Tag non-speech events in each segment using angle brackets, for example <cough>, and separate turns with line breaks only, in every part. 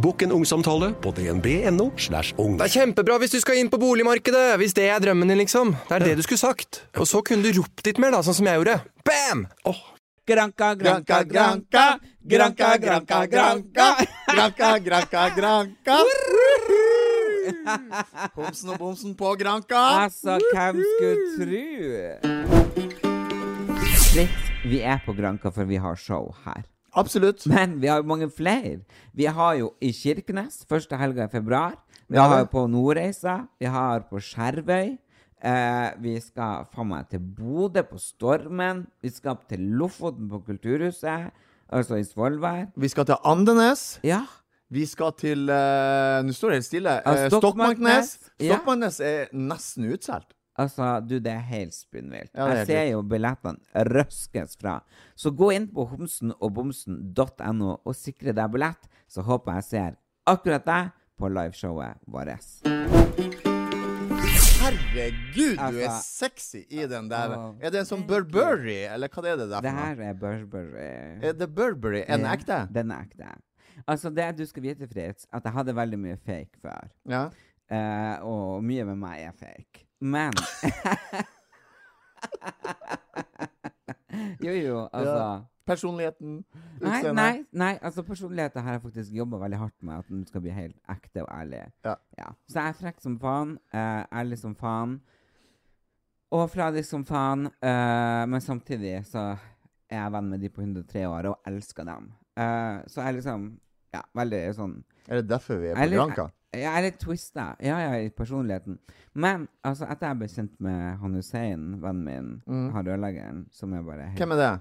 Bokk en ungsamtale på dnb.no. slash ung.
Det er kjempebra hvis du skal inn på boligmarkedet, hvis det er drømmen din, liksom. Det er det du skulle sagt. Og så kunne du ropt litt mer, da, sånn som jeg gjorde. Bam!
Granka, granka, granka. Granka, granka, granka. Granka, granka, granka. Homsen og bomsen på granka.
Altså, hvem skulle tru? Litt, vi er på Granka, for vi har show her.
Absolutt.
Men vi har jo mange flere. Vi har jo i Kirkenes, første helga i februar. Vi
Ja,
har jo
det.
på Nordreisa. Vi har på Skjervøy. Eh, vi skal faen meg til Bodø på Stormen. Vi skal opp til Lofoten på Kulturhuset, altså i Svolvær.
Vi skal til Andenes.
Ja.
Vi skal til eh, Nå står det helt stille.
Ja,
Eh, Stokmarknes.
Stokmarknes. Ja.
Stokmarknes er nesten utsolgt.
Altså, du, det er helt spinnvilt.
Ja, det er
jeg
helt
ser jo billettene røskes fra. Så gå inn på homsenogbomsen.no og sikre deg billett, så håper jeg ser akkurat deg på liveshowet vårt.
Herregud, du er
Altså-
sexy i den der.
Åh.
Er det en sånn Burberry, eller hva er det der
Det
for noe?
her er Burberry.
Er det Burberry? Er den
Ja,
ekte?
eh, Den er ekte. Altså, det du skal vite, Fritz, at jeg hadde veldig mye fake før.
Ja.
Eh, og mye med meg er fake.
<laughs>
Men <laughs> Jo, jo, altså
Personligheten?
Nei,
utseendet.
nei, nei, altså personligheten har jeg faktisk jobba veldig hardt med. At den skal bli helt ekte og ærlig.
Ja.
Så jeg er frekk som faen. eh, ærlig som faen. Og fradig som faen. eh, men samtidig så er jeg venn med de på 103 år og elsker dem. Eh, så jeg er liksom Ja, veldig sånn
Er det derfor vi er
jeg
på
er litt-
Granka?
Jeg jeg er litt twista. Ja, ja, i personligheten. Men altså, etter jeg ble kjent med han Hussein, vennen min, han rørleggeren, som er bare helt,
Mm. Hvem er det?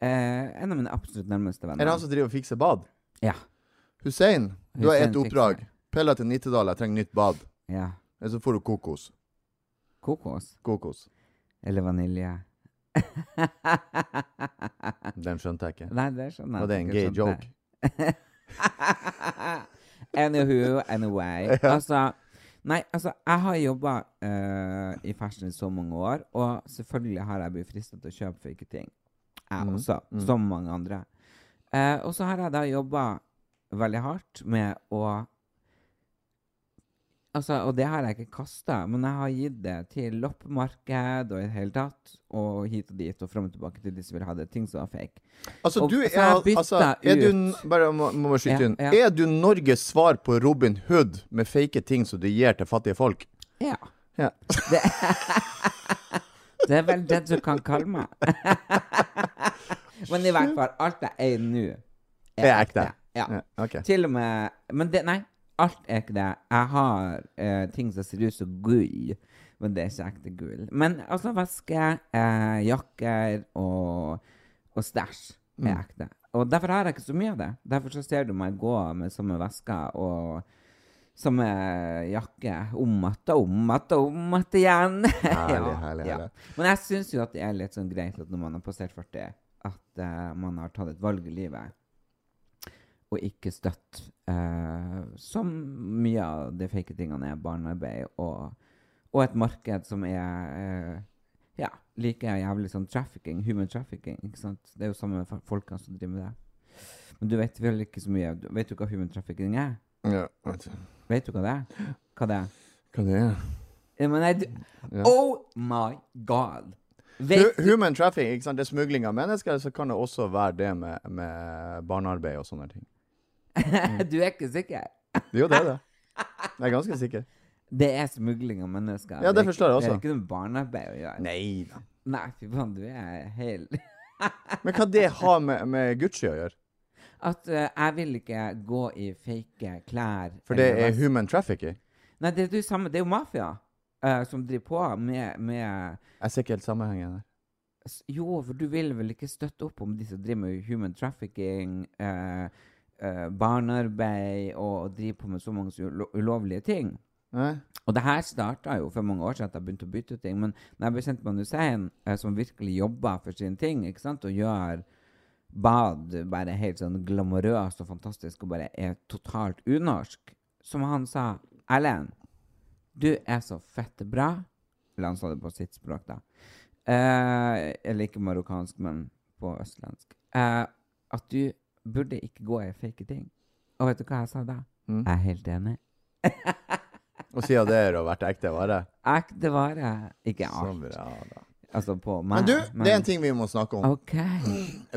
eh, En av mine absolutt nærmeste venner.
Er det han som driver og fikser bad?
Ja.
Hussein, du har
Hussein
ett oppdrag.
fikser.
Pella til Nittedal, jeg trenger nytt bad.
ja.
Eller så får du kokos.
Kokos?
Kokos.
Eller vanilje? <laughs>
Den skjønte jeg ikke.
Nei, det skjønner jeg.
Var det en
sikkert
gay
sånn
joke?
der. <laughs> Anywho, anyway. Altså, nei, altså, jeg har jobba i fashion i så mange år, og selvfølgelig har jeg blitt fristet til å kjøpe fake ting. Jeg også, som mange andre. Eh, og så har jeg da jobba veldig hardt med å Altså, og det har jeg ikke kasta, men jeg har gitt det til loppemarked og i det hele tatt. Og hit og dit og fram og tilbake til de som vil ha det. Ting som var fake.
Altså,
Og-
du
så
er,
jeg bytta
altså, er du,
ut.
n- bare må, må bare skyte
Ja,
inn.
ja.
Er du Norges svar på Robin Hood med fake ting som du gir til fattige folk?
Ja.
Ja.
Det er vel det du kan kalle meg. <laughs> men i hvert fall, alt jeg eier nå,
Er ekte.
Ja.
Ja, ok.
Til og med Men det, nei, alt er ikke det. Jeg har eh, ting som ser ut som gull, men det er ikke ekte gull. Men altså veske, eh, jakker og, og stæsj
Mm.
er ekte. Og derfor har jeg ikke så mye av det. Derfor så ser du meg gå med samme veske og samme jakke om att og om att og om att igjen. <laughs>
Herlig, herlig, herlig.
Men jeg syns jo at det er litt sånn greit at når man har passert 40, at eh, man har tatt et valg i livet og ikke støtt. eh, som mye av de fake tingene er barnearbeid og, og et marked som er eh, ja, like jævlig sånn trafficking, human trafficking. ikke sant? Det er jo samme fo- folka som driver med det. Men du vet vel ikke så mye du- Vet du hva human trafficking er?
Ja, vet du.
Vet du hva det er? Hva det er?
Hva det er
Ja, men nei, du, Oh my god! Vet
Hu- Human trafficking, ikke sant? det er smugling av mennesker, så kan det også være det med, med barnearbeid og sånne ting.
du er ikke sikker?
Jo, det er det. Jeg er ganske sikker.
Det er smugling av mennesker.
Ja, det forstår jeg
Det
også.
er ikke noe barnearbeid å gjøre.
Nei da.
Nei, fy faen, du er helt
Men hva det har med, med Gucci å gjøre?
At eh, jeg vil ikke gå i fake klær.
For det
eller
er
hva-
human trafficking.
Nei, det er det samme. Det er jo mafia eh, som driver på med, med
Jeg ser ikke helt sammenhengen der.
S- Jo, for du vil vel ikke støtte opp om de som driver med human trafficking, eh, eh, barnearbeid og, og driver på med så mange ulo ulovlige ting.
Nei?
Og det her starta jo for mange år siden at jeg begynte å bytte ut ting. Men når jeg ble kjent med han Hussein, eh, som virkelig jobba for sine ting, ikke sant, og gjør bad bare helt sånn glamorøst og fantastisk og bare er totalt unorsk, som han sa Erlend, du er så fette bra. Eller han sa det på sitt språk, da. Eh, eller ikke marokkansk, men på østlandsk. Eh, at du burde ikke gå i fake ting. Og vet du hva jeg sa da? Jeg er helt enig.
Og siden det er å vært ekte vare.
Ekte vare. eh, Ikke
Så
alt.
bra, da.
Altså på meg.
Men du, det er en ting vi må snakke om.
OK.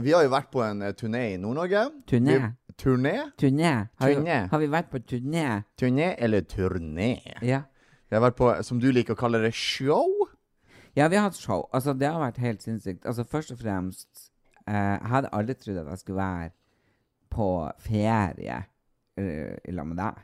Vi har jo vært på en eh, turné i Nord-Norge.
Turné.
Vi- Turné?
Turné. Har, vi-
Turné.
har vi vært på turné?
Turné eller turné?
Ja.
Vi har vært på, som du liker å kalle det, show.
ja, vi har hatt show. Altså, det har vært helt sinnssykt. Altså, først og fremst eh, Jeg hadde aldri trodd at jeg skulle være på ferie eh, i lag med deg.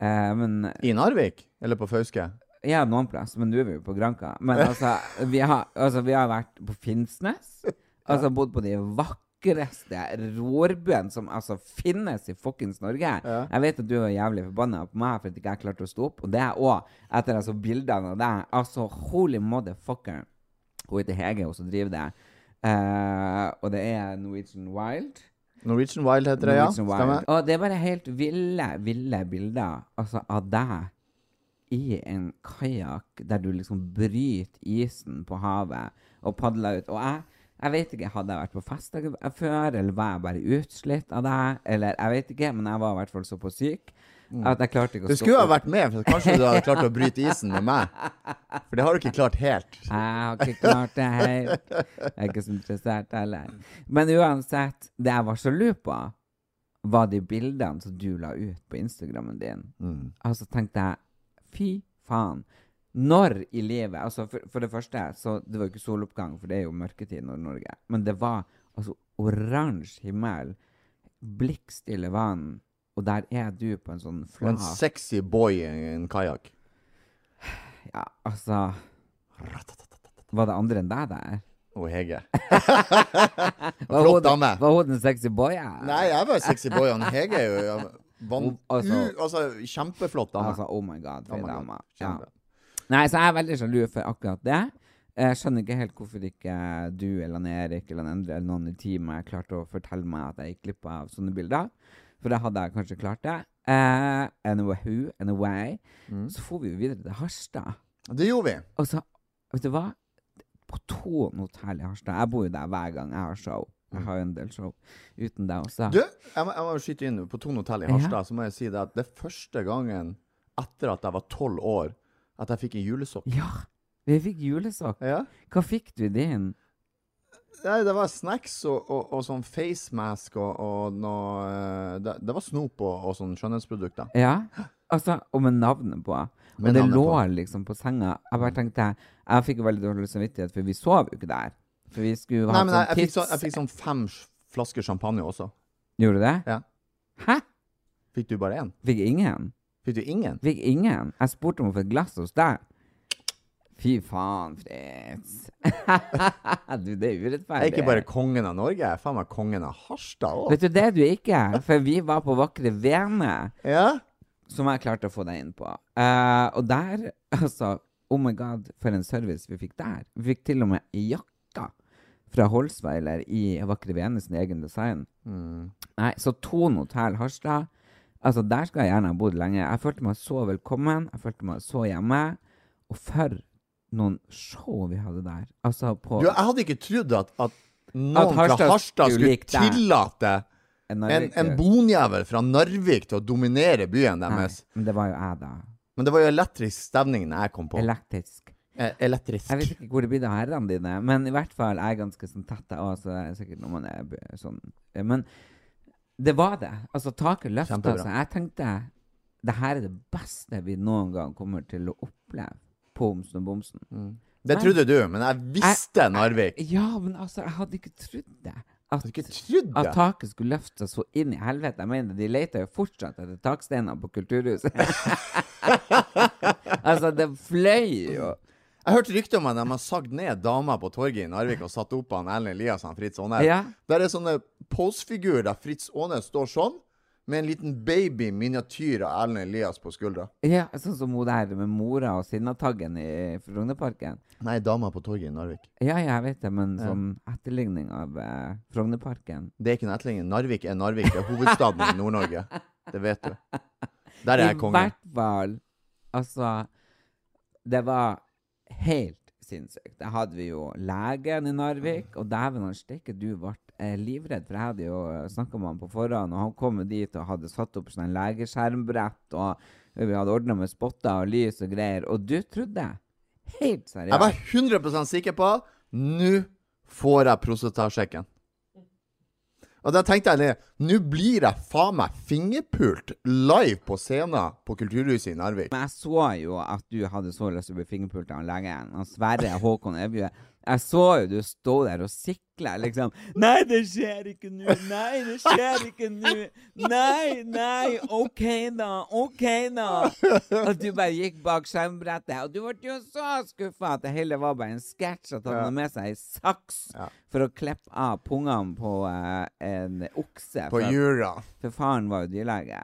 Eh, men
I Narvik? Eller på Fauske?
Ja, noen plass, men nå er vi jo på Granka. Men altså, vi har, altså, vi har vært på Finnsnes. Altså bodd på de vakreste rorbuene som altså finnes i fuckings Norge. Jeg vet at du var jævlig forbanna på meg for at ikke jeg klarte å stå opp, og det er jeg òg. Etter altså bildene av deg. Altså, holy motherfucker. Hun heter Hege, hun som driver det. Eh, og det er Norwegian Wild.
Norwegian Wild heter det, ja.
Norwegian Wild.
Stemmer.
Og det er bare helt ville, ville bilder altså, av deg i en kajakk der du liksom bryter isen på havet og padler ut. Og jeg, jeg vet ikke, hadde jeg vært på fest dag- før, eller var jeg bare utslitt av deg, eller jeg vet ikke, men jeg var i hvert fall såpass syk at jeg klarte ikke
Mm. Du
å
skulle
stoppe
ha
opp.
vært med, for kanskje du hadde klart å bryte isen med meg. For det har du ikke klart helt.
Jeg har ikke klart det helt. Jeg er ikke så interessert heller. Men uansett, det jeg var så lur på, var de bildene som du la ut på Instagrammen din.
Mm.
Og så tenkte jeg, fy faen. Når i livet Altså, for, for det første, så det var jo ikke soloppgang, for det er jo mørketid i Nord-Norge. Men det var altså oransje himmel, blikkstille vann, og der er du på en sånn
Og en
flat
sexy boy i en kajakk.
Ja, altså Var det andre enn deg der?
Og
<laughs>
Hege.
Var
Flott
hun den-
dame.
Var hun den sexy boya?
Nei, jeg var sexy boy. Han Hege er jo ja, van,
Hun- altså-
u, altså, kjempeflott dame.
Altså, oh my god, for
Oh
ei
my God,
dame. Ja.
kjempe.
Nei, så jeg er veldig sjalu for akkurat det. Jeg skjønner ikke helt hvorfor ikke du eller han Erik eller han Endre eller noen i teamet klarte å fortelle meg at jeg gikk glipp av sånne bilder. For da hadde jeg kanskje klart det. Eh, anyway, who, anyway. Så for vi jo videre til Harstad.
Det gjorde vi.
Og så, vet du hva? På Thon hotell i Harstad. Jeg bor jo der hver gang jeg har show. Jeg har jo en del show uten deg også.
Du, jeg må, jeg må skyte inn på Tone hotell i Harstad. Så må jeg si det at det er første gangen etter at jeg var tolv år, at jeg fikk en julesokk.
Ja, vi fikk julesokk.
Ja.
Hva fikk du i din?
Nei, det var snacks og, og, og sånn facemask og, og noe eh, det, det var snop og, og sånn skjønnhetsprodukter.
Ja, altså, og med navnet på. Og
Med
det
navnet
lå
på.
liksom på senga. Jeg bare tenkte, jeg fikk jo veldig dårlig samvittighet, for vi sov jo ikke der. For vi skulle
Nei,
ha
men
sånn
jeg, jeg, fikk
tids...
sånn, jeg fikk sånn fem sj- flasker champagne også.
Gjorde du det?
Ja.
Hæ?
Fikk du bare én?
Fikk ingen?
Fikk du ingen?
Fikk ingen? Jeg spurte om å få et glass hos deg. Fy faen, Fritz. <laughs> du, det er
Jeg er
urettferdig.
ikke bare kongen av Norge, jeg er faen meg kongen av Harstad òg.
Vet du, det er du ikke. For vi var på Vakre Vene.
Ja?
som jeg klarte å få deg inn på. Eh, og der, <laughs> altså Oh my god, for en service vi fikk der. Vi fikk til og med jakka fra Holsweiler i Vakre Vene sin egen design.
Mm.
Nei, så Thon hotell Harstad. Altså, der skal jeg gjerne ha bodd lenge. Jeg følte meg så velkommen. Jeg følte meg så hjemme. Og for noen show vi hadde der. Altså på
Du, jeg hadde ikke trodd at, at noen
At Harstad
fra Harstad
skulle
skulle
like deg.
tillate
en,
en, en bonjævel fra Narvik til å dominere byen
Nei,
deres.
Men det var jo jeg, da.
Men det var jo elektrisk stemning når jeg kom på.
Elektrisk.
Eh, elektrisk.
Jeg vet ikke hvor det blir av herrene dine, men i hvert fall er jeg ganske sånn tett jeg også, så det er sikkert når man er b- sånn. Men det var det. Altså, taket løfta
Kjempebra.
seg. Jeg tenkte det her er det beste vi noen gang kommer til å oppleve på Homsen og Bomsen.
Det trodde du, men jeg visste Narvik.
Ja, men altså, jeg hadde ikke trodd det. At,
Hadde ikke trodd
at
det.
taket skulle løftes så inn i helvete. Jeg mener, de leter jo fortsatt etter taksteiner på Kulturhuset. <laughs> altså, det fløy jo.
Jeg hørte rykter om at de har sagd ned dama på torget i Narvik og satt opp han Erlend Eliassen og Fritz Aanes.
Ja.
Der er sånne posefigurer der Fritz Aanes står sånn, med en liten baby miniatyr av Erlend Elias på skuldra.
Ja, sånn som hun der med mora og Sinnataggen i Frognerparken.
Nei, dama på torget i Narvik.
Ja, ja, jeg vet det, men som etterligning av eh, Frognerparken.
Det er ikke en etterligning. Narvik er Narvik. Det er hovedstaden i Nord-Norge. Det vet du. Der er jeg
I
konge.
hvert fall Altså, det var helt sinnssykt. Der hadde vi jo legen i Narvik, og dæven han stikke, du ble eh, livredd, for jeg hadde jo snakka med han på forhånd, og han kom jo dit og hadde satt opp sånn legeskjermbrett, og vi hadde ordna med spotter og lys og greier, og du trodde Helt
Jeg var
seriøst.
100 sikker på Nå får jeg prostatasjekken. Og da tenkte jeg Nå blir jeg faen meg fingerpult live på scenen på Kulturhuset i Narvik.
Men jeg så jo at du hadde så lyst til å bli fingerpult av legen. Han Sverre Håkon Evje. Jeg så jo du sto der og sikla liksom. Nei, det skjer ikke nå. Nei, det skjer ikke nå. Nei, nei. OK, da. OK, da. Og du bare gikk bak skjermbrettet. Og du ble jo så skuffa at det hele var bare en sketsj. At han hadde med seg ei saks for å klippe av pungene på eh, en okse.
På
fra-
jura.
for faren var jo dyrlege.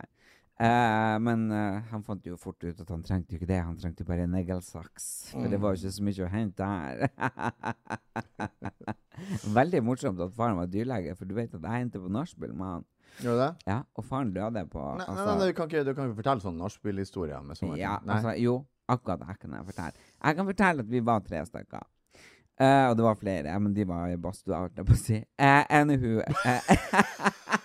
Eh, men eh, han fant jo fort ut at han trengte jo ikke det, han trengte jo bare en negelsaks. For det var jo ikke så mye å hente her. <laughs> Veldig morsomt at faren var dyrlege, for du vet at jeg endte på nachspiel med han.
Gjør du det?
Ja, og faren døde på
Nei,
altså,
nei, nei, du, kan ikke, du kan ikke fortelle sånn nachspiel-historie med sånne
ja,
ting. Nei.
altså, jo, akkurat det her kan jeg fortelle. Jeg kan fortelle at vi var tre stykker. Eh, og det var flere, men de var i badstua, holdt jeg på å si. Eh, anywho, eh,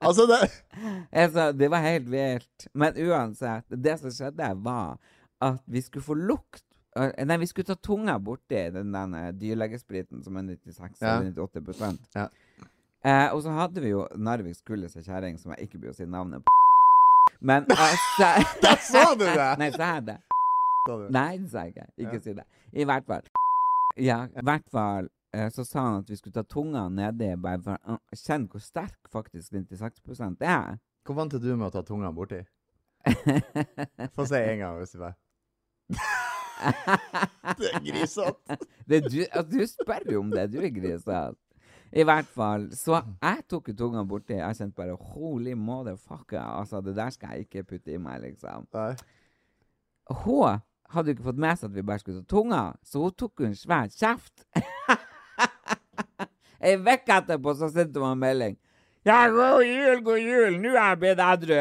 altså, det
Altså, det var helt vilt. Men uansett, det som skjedde, var at vi skulle få lukt eh, Nei, vi skulle ta tunga borti den der eh, dyrlegespriten som er 96
Ja.
eller 98
Ja.
eh, Og så hadde vi jo Narviks kuleste kjerring, som jeg ikke blir å si navnet på.
<laughs>
Men altså
Der sa du det!
<laughs> Nei, så er det.
Sa du.
Nei, det sa jeg ikke. Ikke
Ja.
si det. I hvert fall. Ja, i hvert fall eh, så sa han at vi skulle ta tunga nedi bare for å kjenne hvor sterk faktisk 96 er.
Hvor vant er du med å ta tunga borti? Få se en gang, hvis du <laughs> bare Det er grisete.
Det er du, at du spør jo om det, du er grisete. I hvert fall. Så jeg tok jo tunga borti. Jeg kjente bare Holy motherfucker. Altså, det der skal jeg ikke putte i meg, liksom.
Nei.
Hun hadde jo ikke fått med seg at vi bare skulle ta tunga, så hun tok jo en svær kjeft. Ei uke etterpå så sendte hun meg en melding. Ja, god jul, god jul! Nå er jeg blitt edru!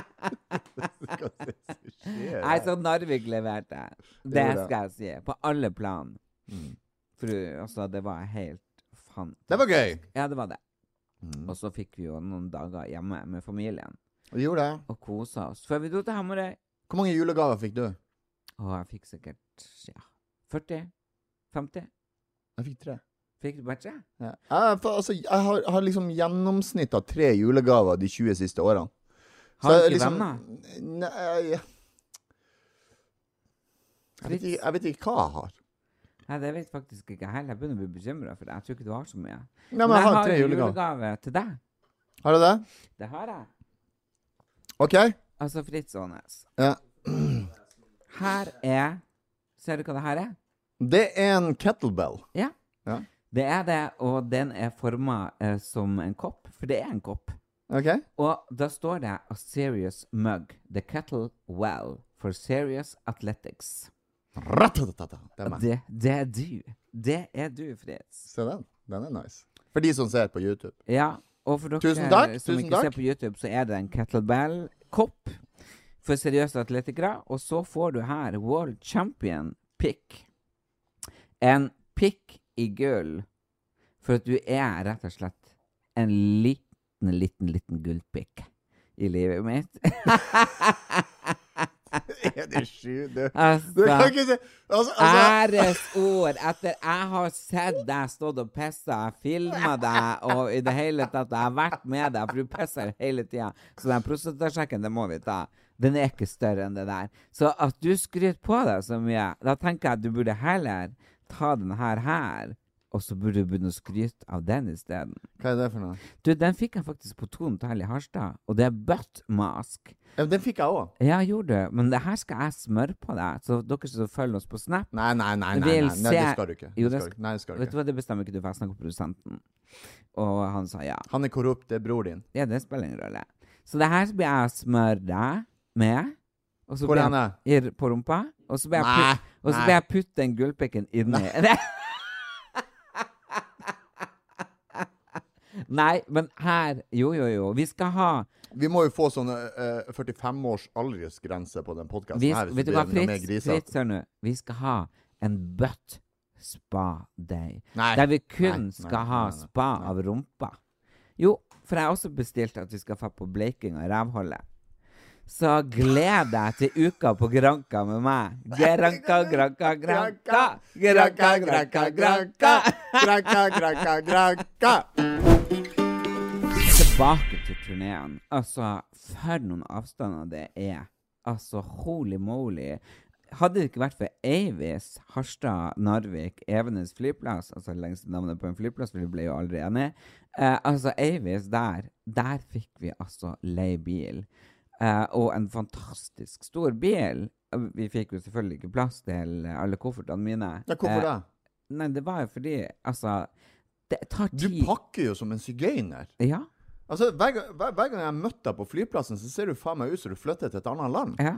Hva er det som skjer?
Nei, så Narvik leverte. Det
gjorde det.
skal jeg si. På alle plan. For altså, det var helt fantastisk.
Mm. Det var gøy.
Ja, det var det.
Mm.
Og så fikk vi jo noen dager hjemme med familien
Vi gjorde det.
og kosa oss. Før vi dro til Hamarøy.
Hvor mange julegaver fikk du?
Og jeg fikk sikkert ja, 40? 50?
Jeg fikk tre.
Fikk du bare tre?
Ja. Jeg, for, altså, jeg har, har liksom gjennomsnitt av tre julegaver de 20 siste årene.
Har du
jeg liksom-
ikke
Nei jeg, jeg, vet ikke, jeg vet ikke hva jeg har.
Nei, det vet faktisk ikke jeg heller. Jeg begynner å bli bekymra, for det. jeg tror ikke du har så mye.
Nei, men jeg har tre
en
julegaver.
julegave til deg.
Har du det?
Det har jeg.
OK.
Altså Fritz Aanes.
Ja.
Her er Ser du hva det her er?
Det er en kettlebell.
Ja.
Ja.
Det er det, og den er forma eh, som en kopp, for det er en kopp.
OK?
Og da står det A Serious Mug, The Kettle Well for Serious Athletics.
Ratatatata. Det er meg.
Det, det er du. Det er du, Fritz.
Se den. Den er nice. For de som ser på <laughs> YouTube.
Ja, og for dere
Tusen takk,
som
tusen
ikke
takk.
ser på YouTube, så er det en kettlebell-kopp for seriøse atletikere. Og så får du her World Champion pick. En pick i gull. For at du er rett og slett en
<laughs>
liten, liten, liten gullpick i livet mitt.
er det sju, du? Du kan
Altså,
ikke si altså, altså,
æresord etter jeg har sett deg stått og pissa, filma deg og i det hele tatt Jeg har vært med deg, for du pisser hele tida. Så den prostatasjekken, det må vi ta. Den er ikke større enn det der. Så at du skryter på deg så mye, da tenker jeg at du burde heller ta den her her, og så burde du begynne å skryte av den isteden.
Hva er det for noe?
Du, den fikk jeg faktisk på Ton Tall i Harstad, og det er butt mask.
Ja, men den fikk jeg òg.
Ja, gjorde du, men det her skal jeg smøre på deg, så dere som følger oss på Snap
Nei, nei, nei, nei,
Vil
nei, nei, det
se-
skal du ikke.
Jo,
Det
det
skal du
sk-
ikke. Nei, det skal du
Vet du
ikke.
hva, det bestemmer ikke du, for jeg snakker om produsenten. Og han sa ja.
Han er korrupt, det er bror din.
Ja, det spiller ingen rolle. Så det her blir jeg å smøre deg med. Og så
Hvor
blir
er han?
jeg, i- På rumpa. Og så blir jeg,
Nei,
put, og så
nei.
blir jeg putte den gullpikken inni. <laughs> Nei, men her Jo, jo, jo. Vi skal ha
Vi må jo få sånn eh, 45 års aldersgrense på den podkasten
vi,
her. hvis
Vet du
det
hva,
blir noe mer
Fritz?
grisete.
Fritz, hør nå. Vi skal ha en butt spa day.
Nei,
Der vi
nei,
kun
nei,
skal ha
nei, nei,
spa av rumpa. Jo, for jeg har også bestilt at vi skal få på bleiking av rævholdet. Så gled deg til uka på Granka med meg.
<laughs>
Granka, Granka, Granka. Granka, Granka, Granka.
Granka, granka, granka.
Tilbake til turneen. Altså, for noen avstander det er. Altså, holy moly. Hadde det ikke vært for Eivis, Harstad, Narvik, Evenes flyplass Altså lengste navnet på en flyplass, for vi ble jo aldri enige. Eh, altså, Eivis der, der fikk vi altså leie bil. Eh, og en fantastisk stor bil. Vi fikk jo selvfølgelig ikke plass til alle koffertene mine.
Ja, hvorfor det?
Eh, nei, det var jo fordi Altså, det tar
Du
tid.
pakker jo som en sigøyner.
Ja.
Altså, hver, gang- hver, hver gang jeg møtte deg på flyplassen, så ser du faen meg ut som du flytter til et annet land.
Ja.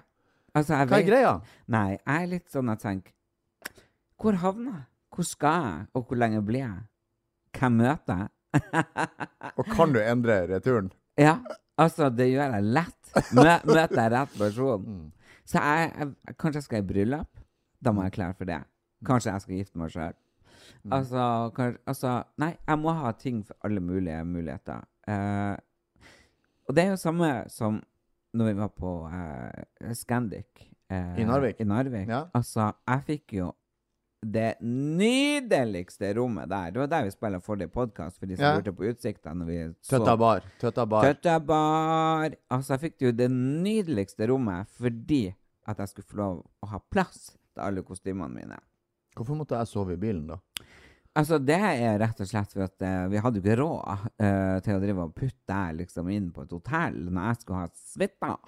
Altså, jeg
Hva er
vet-
greia?
Nei, jeg er litt sånn at jeg tenker Hvor havner jeg? Hvor skal jeg? Og hvor lenge blir jeg? Hvem møter jeg?
Og kan du endre returen?
Ja, altså, det gjør jeg lett. Mø møter jeg rett person.
Mm.
Så jeg, jeg, kanskje jeg skal i bryllup. Da må jeg klare for det. Kanskje jeg skal gifte meg sjøl.
Mm.
Altså, kan- altså Nei, jeg må ha ting for alle mulige muligheter. Eh, og det er jo samme som når vi var på eh, Scandic eh,
I Narvik?
I Narvik.
Ja.
Altså, jeg fikk jo det nydeligste rommet der. Det var der vi spilte forrige podkast, for de som
Ja.
lurte på utsikta når vi så
Tøtta bar. Tøtta bar.
Tøtta bar. Altså, jeg fikk jo det nydeligste rommet fordi at jeg skulle få lov å ha plass til alle kostymene mine.
Hvorfor måtte jeg sove i bilen, da?
Altså, det er rett og slett for at eh, vi hadde jo ikke råd eh, til å drive og putte deg liksom inn på et hotell når jeg skulle ha suita.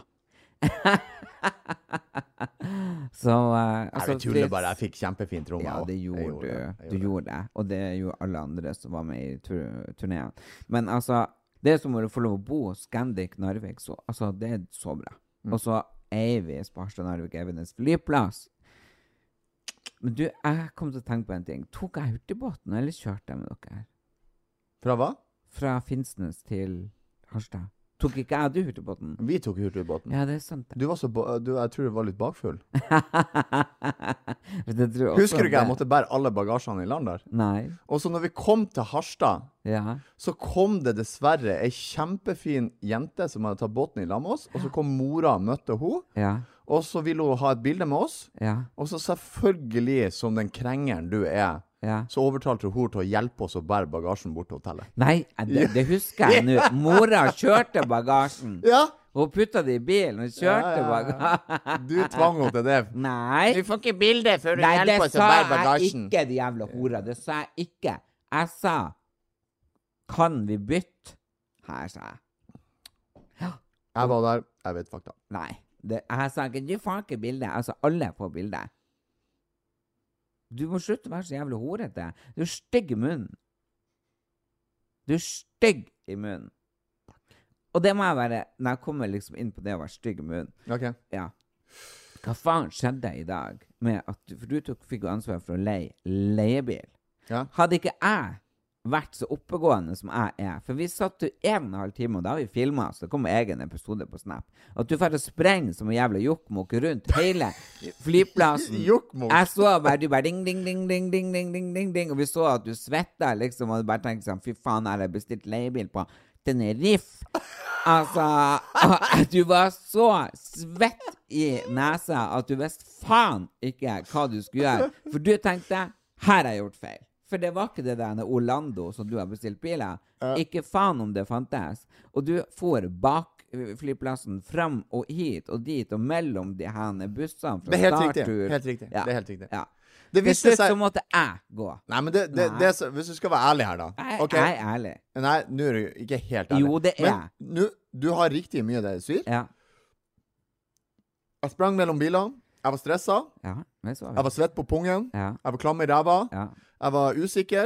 <laughs> så eh, altså,
jeg tuller
Fritz-
bare. Jeg fikk kjempefint rom.
Ja,
jeg også.
det
Jeg
gjorde du.
det. Jeg
du gjorde det. Og det er jo alle andre som var med i tur turneen. Men altså, det er som å få lov å bo hos Scandic Narvik, så altså, det er så bra.
Mm.
Og så Eivis på Harstad Narvik Evenes flyplass. Men du, jeg kom til å tenke på en ting. Tok jeg hurtigbåten, eller kjørte jeg med dere?
Fra hva?
Fra Finnsnes til Harstad. Tok ikke jeg du hurtigbåten?
Vi tok hurtigbåten.
Ja, det er sant. det.
Du var så ba du, Jeg tror du var litt bakfull.
For det tror jeg også
Husker du ikke
det-
jeg måtte bære alle bagasjene i land der?
Nei.
Og så når vi kom til Harstad,
Ja.
så kom det dessverre ei kjempefin jente som hadde tatt båten i lag med oss. Og så kom mora og møtte henne,
Ja.
og så ville hun ha et bilde med oss.
Ja.
Og så selvfølgelig, som den krengeren du er,
Ja.
så overtalte hun til å hjelpe oss å bære bagasjen bort til hotellet.
Nei,
<laughs>
det, det husker jeg nå. Mora kjørte bagasjen.
Ja!
Hun putta det i bilen og kjørte
Ja, ja, ja.
bagasjen.
Du tvang henne til det.
Nei.
får ikke bilde før
Nei, det sa jeg ikke, de jævla hora. Det sa jeg ikke. Jeg sa Kan vi bytte? Her, sa jeg.
Jeg var der. Jeg vet fakta.
Nei. Det, jeg sa ikke Du får ikke bilde. Altså, alle får bilde. Du må slutte å være så jævla horete. Du er stygg i munnen. Du er stygg i munnen. Og det må jeg være når jeg kommer liksom inn på det å være stygg i munnen.
OK.
Ja. Hva faen skjedde i dag med at du, For du tok, fikk jo ansvar for å leie leiebil.
Ja.
Hadde ikke jeg vært så oppegående som jeg er For vi satt jo en og en halv time, og da har vi filma, så det kommer egen episode på Snap. At du får sprenge som en jævla jokkmokk rundt hele flyplassen.
<laughs> Jokkmokk.
Jeg så bare du bare ding, ding, ding, ding, ding, ding, ding, ding, ding. Og vi så at du svetta, liksom, og du bare tenkte sånn Fy faen, her har jeg bestilt leiebil på Tenerife. Altså <laughs> og Du var så svett i nesa at du visste faen ikke hva du skulle gjøre. For du tenkte 'her har jeg gjort feil'. For det var ikke det der Orlando som du har bestilt bil av. Ikke faen om det fantes. Og du for bak flyplassen fram og hit og dit og mellom de her bussene fra
Det er helt riktig.
Startur.
Helt riktig.
Ja.
Det er helt riktig.
Ja.
Det
Til
viste
slutt
seg-
så måtte jeg gå.
Nei, men det, det,
Nei.
det, som- hvis du skal være ærlig her, da
Jeg,
Ok.
jeg er ærlig.
Nei, nå er du ikke helt ærlig.
Jo, det er jeg.
Men nå- du har riktig mye av det du sier.
Ja.
Jeg sprang mellom bilene. Jeg var stressa.
ja. Men så
Jeg var svett på pungen.
Ja.
Jeg var klam i ræva.
Ja.
Jeg var usikker.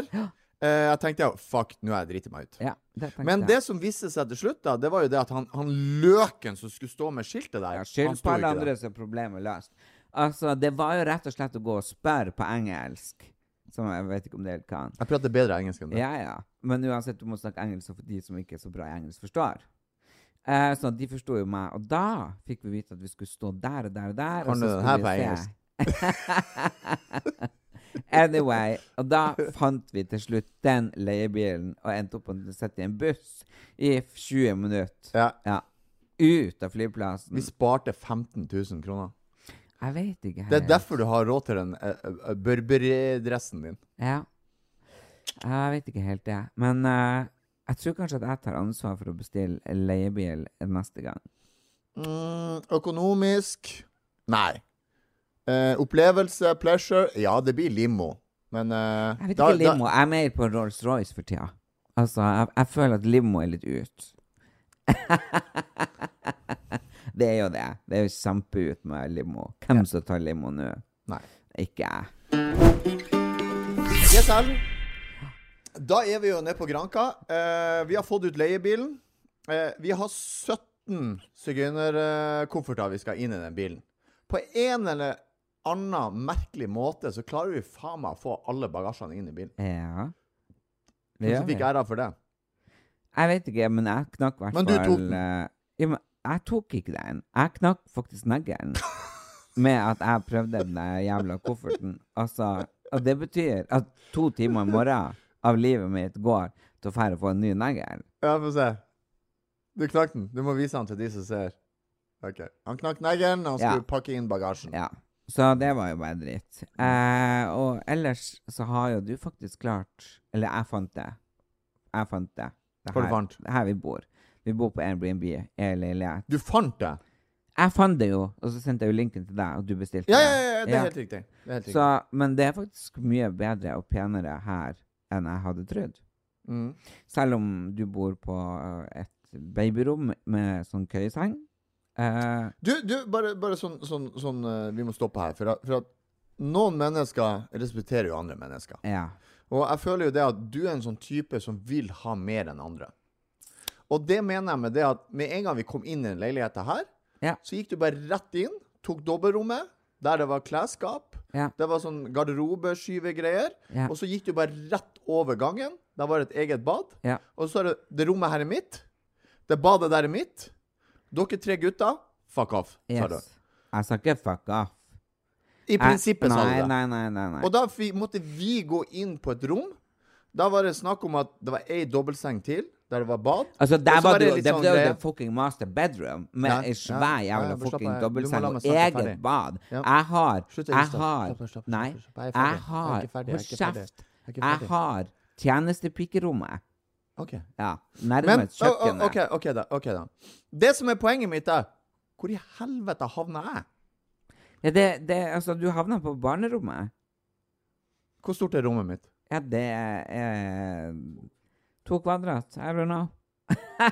Eh, jeg tenkte ja, fuck, nå har jeg driti meg ut.
ja det tenkte
Men
jeg.
det som viste seg til slutt, da, det var jo det at han, han løken som skulle stå med skiltet der
Ja,
han
Skyld
sto
på alle
ikke der.
andre, så er problemet løst. Altså, det var jo rett og slett å gå og spørre på engelsk. Som jeg vet ikke om det helt kan.
Jeg prater bedre engelsk enn det.
Ja, ja. Men uansett, du må snakke engelsk så for de som ikke er så bra i engelsk, forstår. Eh, så de forsto jo meg. Og da fikk vi vite at vi skulle stå der og der og der.
Kan
og
du
så
den
skulle
her
vi
på
se.
engelsk?
Anyway, og da fant vi til slutt den leiebilen og endte opp med å sitte i en buss i 20 minutter.
Ja.
Ja. Ut av flyplassen.
Vi sparte 15 000 kroner.
Jeg vet ikke.
Det er
helt.
derfor du har råd til den eh, eh, Burberry-dressen din.
Ja. Jeg vet ikke helt det. Men eh, jeg tror kanskje at jeg tar ansvar for å bestille leiebil neste gang.
Mm, økonomisk Nei. Eh, opplevelse, pleasure Ja, det blir limo, men eh,
Jeg vet
da-
ikke limo. Jeg er mer på Rolls-Royce for tida. Altså, jeg, jeg føler at limo er litt ut. <laughs> det er jo det. Det er jo kjempeut med limo. Hvem som tar limo nå?
Da, nei.
Ikke jeg.
Yes, Erlend. Da er vi jo nede på Granka. Eh, vi har fått ut leiebilen. Eh, vi har 17 sigøynerkofferter vi skal inn i den bilen. På en eller annen merkelig måte så klarer vi faen meg å få alle bagasjene inn i bilen.
Ja. Det
Hvordan
gjør vi.
fikk æra for det?
Jeg vet ikke, men jeg knakk hvert
Men du tok den.
eh, ja, men jeg tok ikke den. Jeg knakk faktisk neglen
<laughs>
med at jeg prøvde den der jævla kofferten. Altså, og det betyr at to timer i morgen av livet mitt går til å fære på en ny negl.
Ja, få se. Du knakk den. Du må vise den til de som ser. Ok. Han knakk neglen, og han
Ja.
skulle pakke inn bagasjen.
Ja. Så det var jo bare dritt. Eh, og ellers så har jo du faktisk klart Eller jeg fant det. Jeg fant det. Det
Hva du
her-
fant?
det her vi bor. Vi bor på Airbnb i en leilighet.
Du fant det?
Jeg fant det jo, og så sendte jeg jo linken til deg, og du bestilte
Ja,
det.
ja, ja, ja, det er helt riktig. Det er helt riktig.
Så, men det er faktisk mye bedre og penere her enn jeg hadde trodd.
Mm.
Selv om du bor på eh, et babyrom med sånn køyeseng. Eh,
Du, du bare, bare sånn, sånn, sånn eh, Vi må stoppe her. For at, for at noen mennesker respekterer jo andre mennesker.
ja.
Og jeg føler jo det at du er en sånn type som vil ha mer enn andre. Og det mener jeg med det at med en gang vi kom inn i den leiligheten her,
Ja.
så gikk du bare rett inn, tok dobbeltrommet, der det var klesskap,
Ja.
det var sånn garderobeskyvegreier,
Ja.
og så gikk du bare rett over gangen, der var det et eget bad,
Ja.
og så er det, det rommet her er mitt, det badet der er mitt, dere tre gutter, fuck off, sa du.
Yes. Jeg sa ikke fuck off. Eh,
I prinsippet sa du
nei,
det.
Nei, nei, nei. nei.
Og da fi- måtte vi gå inn på et rom. Da var det snakk om at det var ei dobbeltseng til, der det var bad.
Altså, der
Og så
var det,
det
jo-
litt
det var
sånn
jo
greie.
det fucking master bedroom med
Ja,
ei svær
ja,
jævla
ja, bare slapp
fucking
av.
dobbeltseng
Du må la
og
meg snakke ferdig.
eget bad.
Ja.
Jeg har
Slutt, jeg er
Jeg
stopp.
har
Stopp, stopp, stopp,
Nei,
stopp, stopp. Jeg
jeg
er ferdig. Jeg er
har
ikke ferdig, jeg er
Hold
ikke ferdig.
kjeft.
Jeg er ikke ferdig.
Jeg har tjenestepikerommet.
OK.
Ja.
Men,
Nærmest
å, å,
kjøkkenet.
ok, ok da, ok da. Det som er poenget mitt, er Hvor i helvete havna jeg?
Ja, det, det, altså, du havna på barnerommet.
Hvor stort er rommet mitt?
Ja, det er to kvadrat. I don't know. <laughs>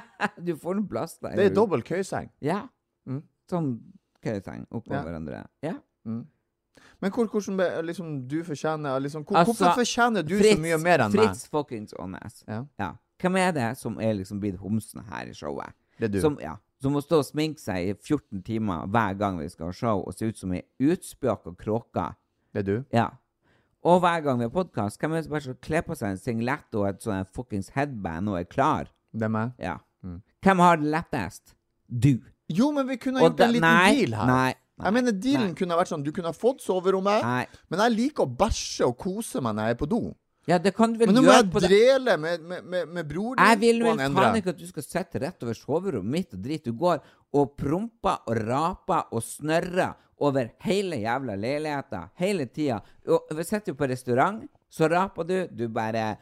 du får en plass der.
Det er dobbel køyseng.
Ja.
Mm.
Sånn køyeseng oppå
Ja.
hverandre. Ja.
Men hvor, hvordan be- liksom, du fortjener liksom, hvor,
Altså,
Hvorfor fortjener du så mye mer enn meg?
Fritz fuckings Aanes.
Ja.
Ja. Hvem er det som er liksom blitt homsen her i showet?
Det er du.
Som, ja, som må stå og sminke seg i 14 timer hver gang vi skal ha show, og se ut som ei utspjåka kråke.
Det er du.
Ja. Og hver gang vi har podkast, kan vi bare så kle på seg en singlet og et sånn fuckings headband og er klar.
Det er meg.
Ja.
Mm.
Hvem har det lettest? Du.
Jo, men vi kunne
Og
gjort
da-
en liten
nei,
deal her.
nei, nei,
jeg mener, dealen
nei.
kunne vært sånn Du kunne ha fått soverommet,
Nei.
men jeg liker å bæsje og kose meg når jeg er på do.
Ja, det kan du vel
Men nå må
gjøre
jeg
på det.
drele med, med, med, med broren
Jeg vil
og
vel
han
faen
Endre.
ikke at du skal sette rett over soverommet mitt og drit. Du går og promper og raper og snørrer over hele jævla leiligheta hele tida. Og sitter du på restaurant, så raper du. Du bare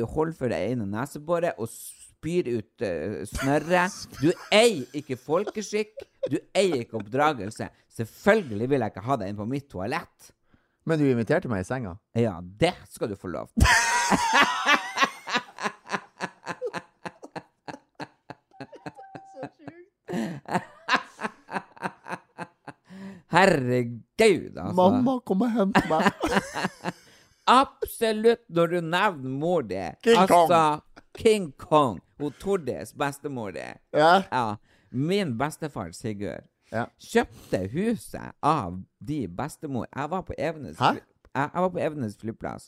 holder for det ene neseboret og spyr ut eh, snørre. Du eier ikke folkeskikk. Du eier ikke oppdragelse. Selvfølgelig vil jeg ikke ha deg inn på mitt toalett.
Men du inviterte meg i senga.
Ja, det skal du få
<laughs>
lov til. Herregud, altså.
Mamma, kom og hent meg.
<laughs> Absolutt når du nevner mor di. Altså, King
King Kong.
Kong. Hun Tordis, bestemor di.
ja.
Ja. Min bestefar Sigurd
Ja.
kjøpte huset av de bestemor. Jeg var på Evenes,
Hæ?
fly- jeg, jeg var på Evenes flyplass.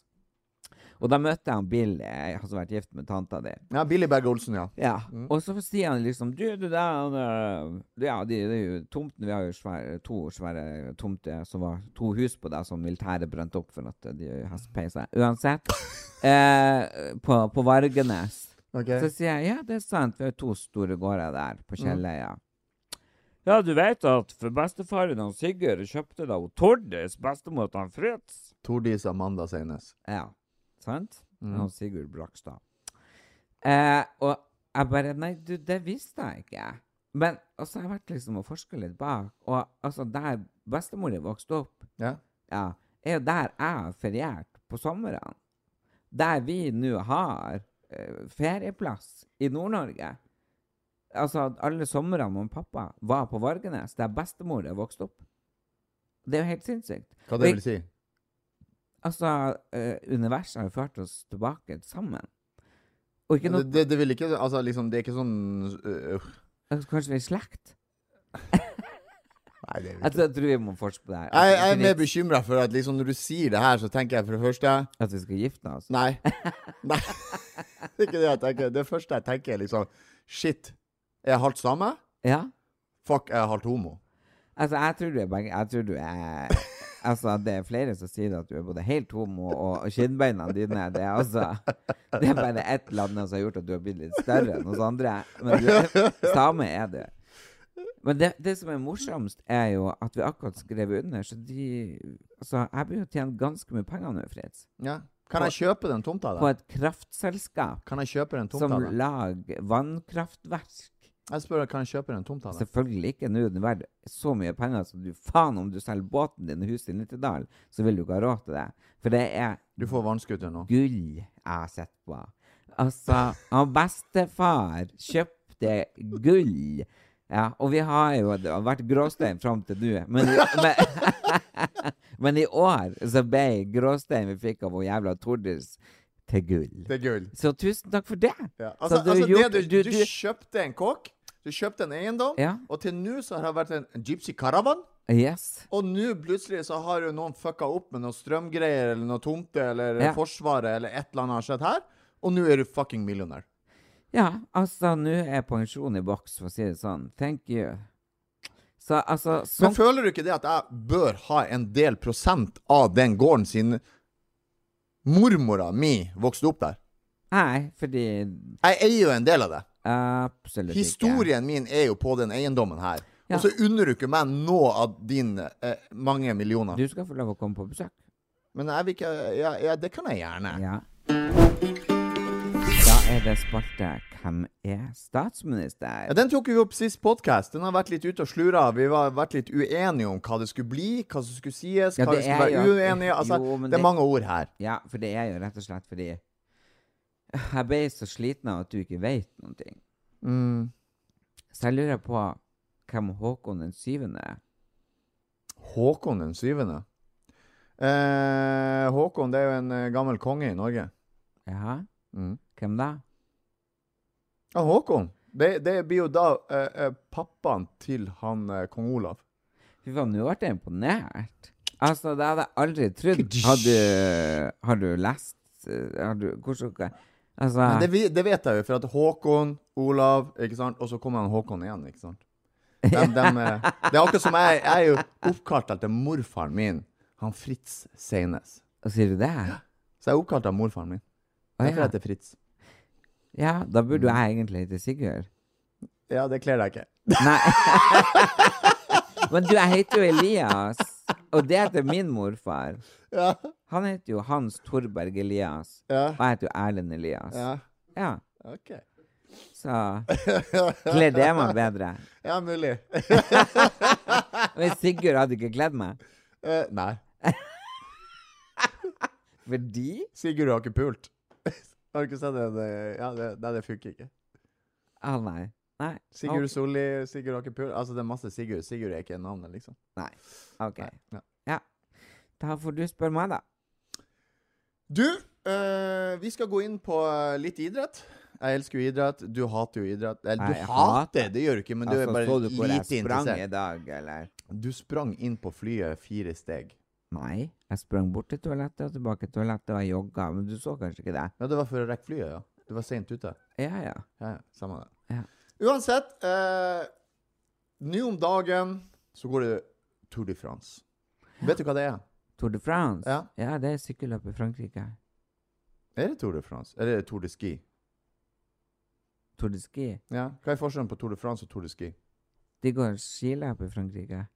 Og da møtte jeg han Bill, eh, han som har vært gift med tanta di.
ja Billy Berg-Olsen, ja.
Ja. Og så sier han liksom Du, du der han, øh, Ja, de, de, tomten Vi har jo svære, to svære tomter som var to hus på der som militæret brant opp for at de har peisa. Uansett. eh, på, på Vargenes.
Ok.
Så sier jeg ja, det er sant, vi har to store gårder der på Kjelløya. Ja, du vet at for bestefaren hans Sigurd kjøpte da Tordis bestemor til han Fritz.
Tordis Amanda Seines.
Ja, sant? Og Sigurd Brakstad. Eh, og jeg bare Nei, du, det visste jeg ikke. Men altså, jeg har vært liksom og forska litt bak, og altså, der bestemor din vokste opp,
Ja.
ja, er jo der jeg har feriert på somrene. Der vi nå har eh, ferieplass i Nord-Norge. Altså, at alle somrene mamma og pappa var på Vargenes, der bestemor din vokste opp. Det er jo helt sinnssykt.
Hva
Og
det
i-
vil si?
Altså, eh, universet har jo ført oss tilbake sammen. Og ikke
Det,
noe
det, det vil ikke Altså, liksom, det er ikke sånn øh,
altså, Kanskje vi er i slekt?
Nei, det vil
Jeg tror, jeg tror vi må forske på det her. Altså,
Jeg, jeg er
At vi-
mer bekymra for at liksom når du sier det her, så tenker jeg for det første
At vi skal gifte oss?
Nei. <laughs> Nei. Det er ikke det jeg tenker. Det første jeg tenker, er liksom Shit. Er jeg halvt same?
Ja?
Fuck, jeg er halvt homo.
Altså, jeg tror du er begge Jeg tror du er Altså, det er flere som sier at du er både helt homo, og og kinnbeina dine Det er altså Det er bare ett land som har gjort at du har blitt litt større enn oss andre. Men du er same, er du. Men det, det som er morsomst, er jo at vi akkurat skrev under, så de Altså, jeg blir jo tjent ganske mye penger nå, Fritz.
Ja. Kan jeg kjøpe den tomta
på
der?
et kraftselskap
Kan jeg kjøpe den
som
tomta der?
lager vannkraftverk.
Jeg spør, kan jeg kjøpe den tomta der?
Selvfølgelig ikke. Nå er den verdt så mye penger som du faen om du selger båten din og huset i Nittedal, så vil du ikke ha råd til det. For det er
Du får vannskuter nå.
gull jeg har sett på. Altså, han bestefar kjøpte gull. Ja, og vi har jo det har vært gråstein fram til nå, men, men, <laughs> men i år så ble gråstein vi fikk av hun jævla Tordis, til gull.
Det er gull.
Så tusen takk for det.
Ja.
Så
Altså,
du
du, altså
gjorde-
det, du,
du-
du,
du-
kjøpte en kåk, du kjøpte en eiendom,
Ja.
og til nå så har det vært en gypsy caravan.
Yes.
Og nå plutselig så har jo noen fucka opp med noen strømgreier eller noe tomte eller
Ja.
Forsvaret eller et eller annet har skjedd her, og nå er du fucking millionær.
Ja, altså, nå er pensjon i boks, for å si det sånn. Thank you. Så altså
Men
sånn,
føler du ikke det at jeg bør ha en del prosent av den gården siden mormora mi vokste opp der?
Nei, fordi
Jeg eier jo en del av det.
Absolutt ikke.
Historien min er jo på den eiendommen her.
Ja.
Og så unner du ikke meg noe av dine eh, mange millioner.
Du skal få lov å komme på besøk.
Men jeg vil ikke ja, ja, det kan jeg gjerne.
Ja. Da er det spalte Hvem er
Ja,
statsminister?
Den tok vi opp sist podkast. Den har vært litt ute og slura. Vi har vært litt uenige om hva det skulle bli, hva som skulle sies,
Ja,
hva vi
det er
skulle være
jo-
uenige Altså,
Jo, men
det,
det-
er mange ord her.
Ja, for det er jo rett og slett fordi jeg ble så sliten av at du ikke vet noen ting. Mm. Så jeg lurer på hvem Håkon den syvende er.
Håkon den syvende. Eh, Håkon det er jo en eh, gammel konge i Norge.
Jaha?
Mm.
Hvem da?
Ja, Håkon. Det, det blir jo da eh, eh, pappaen til han eh, kong Olav.
Fy faen, nå ble jeg imponert. Altså, det hadde jeg aldri trodd. Har du, har du lest eh, har du, hvordan, hva- Altså
Men det, vi- det vet jeg jo, for at Håkon, Olav, ikke sant? og så kommer han Håkon igjen, ikke sant? Dem- dem, eh, det er akkurat som jeg, jeg er jo oppkalt etter morfaren min, han Fritz Seines.
Sier du det?
Så jeg er oppkalt av morfaren min.
Å,
Derfor
ja.
heter jeg Fritz.
ja, da burde jo jeg egentlig hete Sigurd.
Ja, det kler
<laughs>
deg ikke.
Nei. Men du, jeg heter jo Elias, og det heter min morfar.
Ja,
Han heter jo Hans Torberg Elias,
ja,
og jeg heter jo Erlend Elias.
ja.
Ja,
Ok.
så kler det meg bedre.
<laughs> Ja, mulig.
Men Sigurd hadde ikke kledd meg.
Eh, nei.
Fordi
Sigurd har ikke pult. <laughs> Har du ikke sett det? det- Ja, det, nei, det funker ikke.
Å, nei. Nei.
Sigurd Solli, Sigurd har ikke pult. Altså, det er masse Sigurd. Sigurd er ikke navnet, liksom.
Ok.
Nei, ja.
Ja. Da får du spørre meg, da.
Du, eh, vi skal gå inn på eh, litt idrett. Jeg elsker jo idrett. Du hater jo idrett. Eller,
Nei,
du
jeg
hater,
hater.
det gjør du ikke, men du er
Altså,
bare
så du hvor jeg
lite
sprang
interessert.
i dag, eller?
Du sprang inn på flyet fire steg.
Nei. Jeg sprang bort til toalettet og tilbake til toalettet, og jeg jogga, men du så kanskje ikke det?
Ja, det var for å rekke flyet, ja. Du var sent ute.
Ja, ja.
Ja, ja, samme det.
Ja.
Uansett, eh, nå om dagen så går det Tour de France. Vet du hva det er?
Tour de France?
Ja.
det er sykkelløp i Frankrike.
Er det Tour de France? Eller er det Tour de Ski?
Tour de ski.
Ja. Hva er forskjellen på Tour de France og Tour de
<laughs>
Ski? <laughs>
De går skiløp i Frankrike.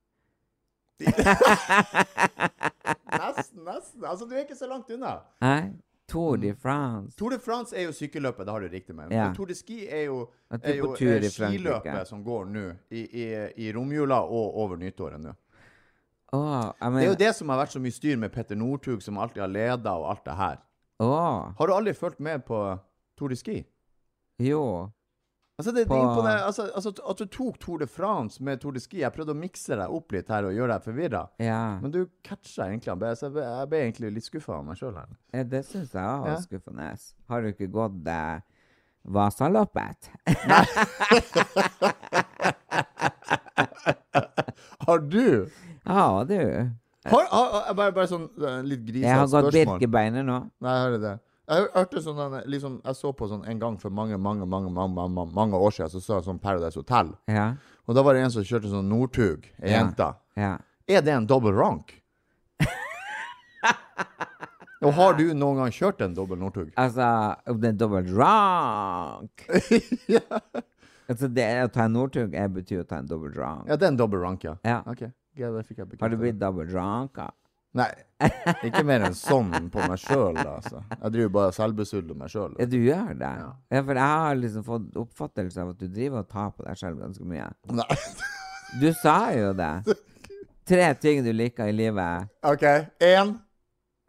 Nesten, nesten. Altså, du er ikke så langt unna.
Nei, Tour
Mm.
de France.
Tour de France er jo sykkelløpet, det har du riktig med.
Ja.
Men Tour de Ski er jo,
At du
er
er
jo
på tur
eh,
i Frankrike.
skiløpet som går nå, i, i, i romjula og over nyttåret nå.
Åh, jeg
Det er
mener
jo det som har vært så mye styr med Petter Northug, som alltid har leda og alt det her.
Åh,
Har du aldri fulgt med på Tour de Ski?
jo.
Altså, det, det
På-
imponerer, altså, altså, at du tok Tour de France med Tour de Ski Jeg prøvde å mikse deg opp litt her og gjøre deg forvirra,
Ja.
men du catcha egentlig han bedre, så jeg ble, jeg ble egentlig litt skuffa av meg sjøl her.
ja, det syns jeg var
Ja.
skuffende. Har du ikke gått eh, Vasaloppet? <laughs>
Har du?
Ja, du.
Har, har, har, bare, bare sånn eh, litt grisete
Jeg
spørsmål.
har gått Birkebeiner nå.
Nei, jeg hører det. Jeg hør- hørte sånn en- liksom, Jeg så på sånn en gang for mange, mange, mange mange, mange, mange år siden, så så jeg sånn Paradise Hotel.
Ja.
Og da var det en som kjørte sånn Northug, ei
Ja.
jente.
ja.
Er det en double rank? Og har du noen gang kjørt en dobbel Northug?
Altså, om det er dobbelt rank
ja.
Altså, det å ta en Northug eh, betyr å ta en dobbelt rank.
ja, det er en double rank, ja.
Ja.
Ok, ja, det fikk jeg bekreftet.
Har du blitt dobbelt ranka?
Nei, ikke mer enn sånn på meg sjøl, altså. Jeg driver bare og selvbesudler meg sjøl.
Ja, du gjør det? Ja. for jeg har liksom fått oppfattelse av at du driver og tar på deg selv ganske mye. Du sa jo det. Tre ting du liker i livet.
<laughs> OK. Én.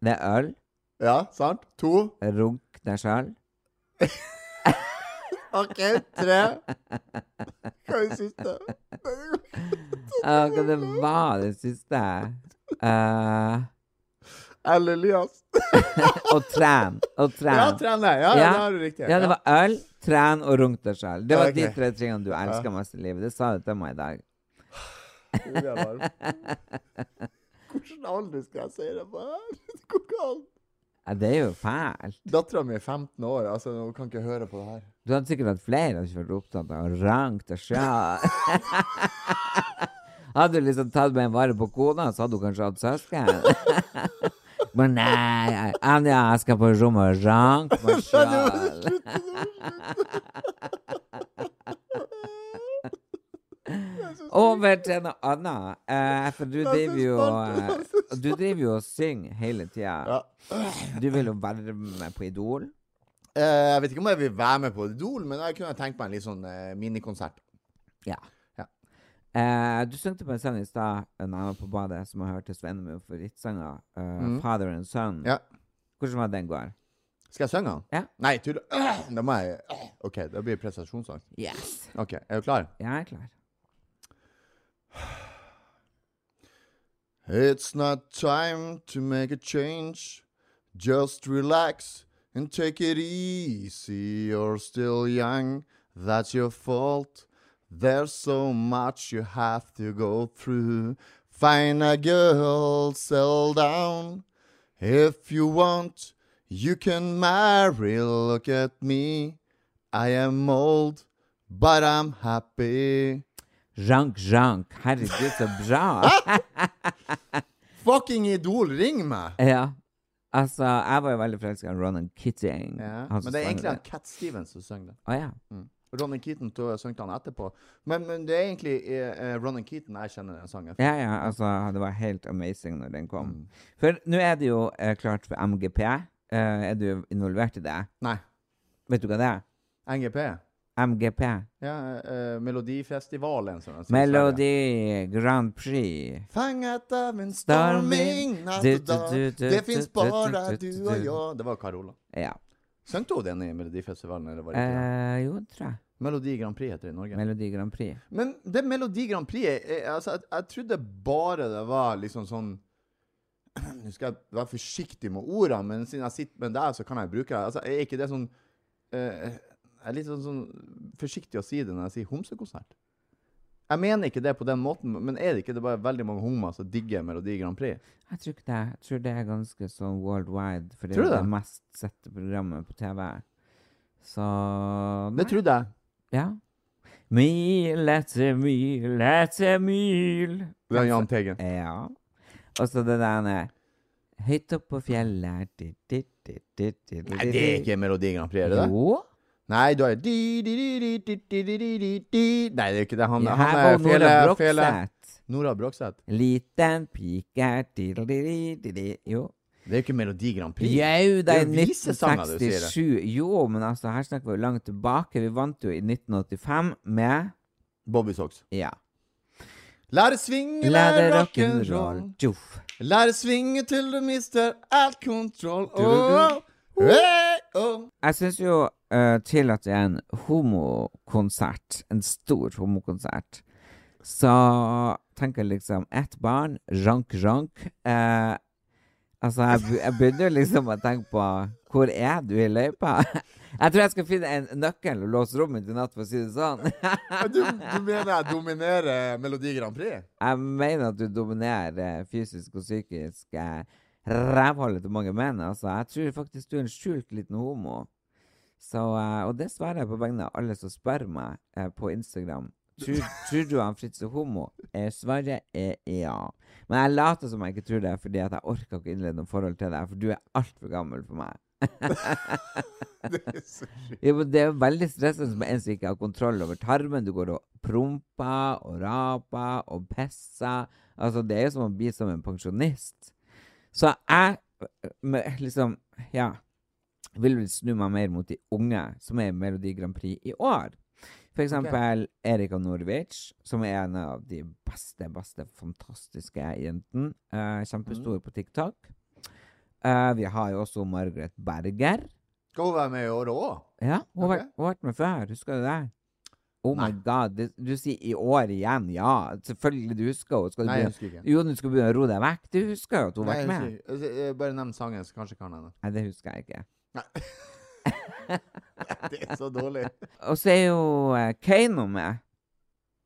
Det er øl,
Ja, sant? To.
runk deg sjøl.
OK, tre. Hva er det siste?
Hva det var det siste? Eh,
Eller Elias.
og tren. Og tren.
Ja, trene. Ja, ja. det har du riktig.
Ja, det var øl, tren og runk deg sjøl. Det var de
Ok.
tre tingene du elsker mest i livet. Det sa du til meg i dag.
Ja, det var det. Hvordan alder skal jeg si det på her? Det går ikke an.
Ja, det er jo fælt.
Dattera mi er 15 år. altså Hun kan ikke høre på det her.
Du hadde sikkert hatt flere som ikke vært opptatt av å ranke deg sjøl. <laughs> hadde du liksom tatt med en vare på kona, så hadde du kanskje hatt søsken. <laughs> Men nei, jeg- Anja, jeg skal på rommet og ranke
<laughs>
meg sjøl. Over til noe annet. Eh, for du driver jo eh, Du driver jo og synger hele tida. Du vil jo være med på Idol.
Eh, jeg vet ikke om jeg vil være med på Idol, men jeg kunne tenkt meg en litt sånn eh, minikonsert.
Ja.
Ja.
Eh, du søkte på en sang i stad eh, når jeg var på badet, som jeg hørte Sven min favorittsanger. Uh, Father and Son.
Mm. Ja.
Hvordan var den går?
Skal jeg synge den?
Ja.
Nei, tull. <clears throat> Da må jeg OK, det blir prestasjonssang.
Yes.
OK, er du klar?
Jeg er klar.
It's not time to make a change. Just relax and take it easy. You're still young, that's your fault. There's so much you have to go through. Find a girl, settle down. If you want, you can marry. Look at me. I am old, but I'm happy.
Jank, jank.
<laughs>
Herregud, så bra.
Fucking Idol, ring meg!
ja. Altså, jeg var jo veldig forelska i Ronan Keating.
Ja.
han som
Men det er
sang
egentlig han
det.
Cat Stevens som synger det.
Å ja.
Ronny Keaton tog- sang han etterpå. Men, men det er egentlig eh, eh, Ronny Keaton jeg kjenner den sangen.
Ja, ja, altså, det var helt amazing når den kom.
Mm.
For nå er det jo eh, klart for MGP. Eh, er du involvert i det?
Nei.
Vet du hva det er?
NGP.
MGP.
Ja, eh, Melodifestivalen, som de sier i Sverige.
Melodi Grand Prix.
Fanget av en
Storming,
storming natt
du,
og dag.
du, du,
Det
du,
fins
du,
bare
du,
du
du,
og
du.
jeg. Det var Carola.
Ja.
Sang hun den i Melodifestivalen? Eller var det ikke det?
Eh, jo, det tror jeg.
Melodi Grand Prix heter det i Norge.
Melodi Grand Prix.
Men det Melodi Grand Prix er, er, altså, jeg, jeg trodde bare det var liksom sånn <clears throat> Nå skal jeg være forsiktig med ordene, men siden jeg sitter med deg, så kan jeg bruke det. Altså, er ikke det sånn eh, Jeg er litt sånn, sånn forsiktig å si det når jeg sier homsekonsert. Jeg mener ikke det på den måten, men er det ikke det bare veldig mange homer som digger Melodi Grand Prix?
Jeg tror ikke det. Jeg tror det er ganske sånn worldwide, for det
Tror
er
du
jo
det?
det mest sette programmet på TV. Så
Det trodde jeg.
Ja. Mil etter mil etter mil.
Det er Jahn Teigen.
Ja. Og så det der eh, Høyt opp på fjellet di, di, di, di, di, di,
Nei, det er ikke Melodi Grand Prix, er det det?
Jo.
Nei, du har di, di, di, di, di, di, di, di, di, di. Nei, det er ikke det. Han,
Ja,
han
her
er
var Nora
fele, fele.
Brokseth.
Nora Brokseth.
Liten pike tidli-di-di-di. Jo.
Det er jo ikke Melodi Grand Prix.
Jau, det er
jo visesanger du sier.
1967. Jo, men altså, her snakker vi jo langt tilbake. Vi vant jo i 1985 med
Bobby Socks.
Ja.
Lære svinge,
Lære
lære
rock'n'roll.
rock'n'roll.
Tjoff.
Lære svinge til du mister all kontroll.
du, du.
Oh, oh, hey, oh.
Jeg syns jo eh, til at det er en homokonsert, en stor homokonsert, så tenker jeg liksom Ett barn, rank, rank. Eh, altså, jeg, be- jeg begynner jo liksom å tenke på Hvor er du i løypa? <laughs> Jeg tror jeg skal finne en nøkkel og låse rommet til natt, for å si det sånn.
Du, du mener jeg dominerer Melodi Grand Prix?
Jeg mener at du dominerer eh, fysisk og psykisk eh, rævhullet til mange menn. Altså, jeg tror faktisk du er en skjult liten homo. Så, eh, og det svarer jeg på vegne av alle som spør meg eh, på Instagram. Tror, tror du han Fritz er homo? Eh, Svaret er ja. Men jeg later som jeg ikke tror det, fordi at jeg orker ikke innlede noe forhold til deg. For du er altfor gammel for meg. Ja, men det er jo veldig stressende med en som ikke har kontroll over tarmen. Du går og promper og raper og pisser. Altså, det er jo som å bli som en pensjonist. Så jeg øh, med- liksom Ja. Vil vel snu meg mer mot de unge som er i Melodi Grand Prix i år. For eksempel Erika Norwich, som er en av de beste, beste, fantastiske jentene. Eh, kjempestor på TikTok. Eh, vi har jo også Margaret Berger.
Skal hun være med i året òg?
Ja, hun har
Ok.
vært- hun har vært med før. Husker du det? Oh
Nei.
my god. Det, du sier i år igjen. Ja, selvfølgelig du husker henne. Skal du
Nei, jeg
begynne,
husker ikke.
jo, du skal begynne å roe deg vekk. Du husker jo at hun har
Nei,
vært
jeg
med.
husker ikke. Altså, eh, Bare nevn sangen, så kanskje
<laughs>
kan jeg den.
Nei, det husker jeg ikke.
Det er så dårlig.
Og så er jo eh, Keiino med.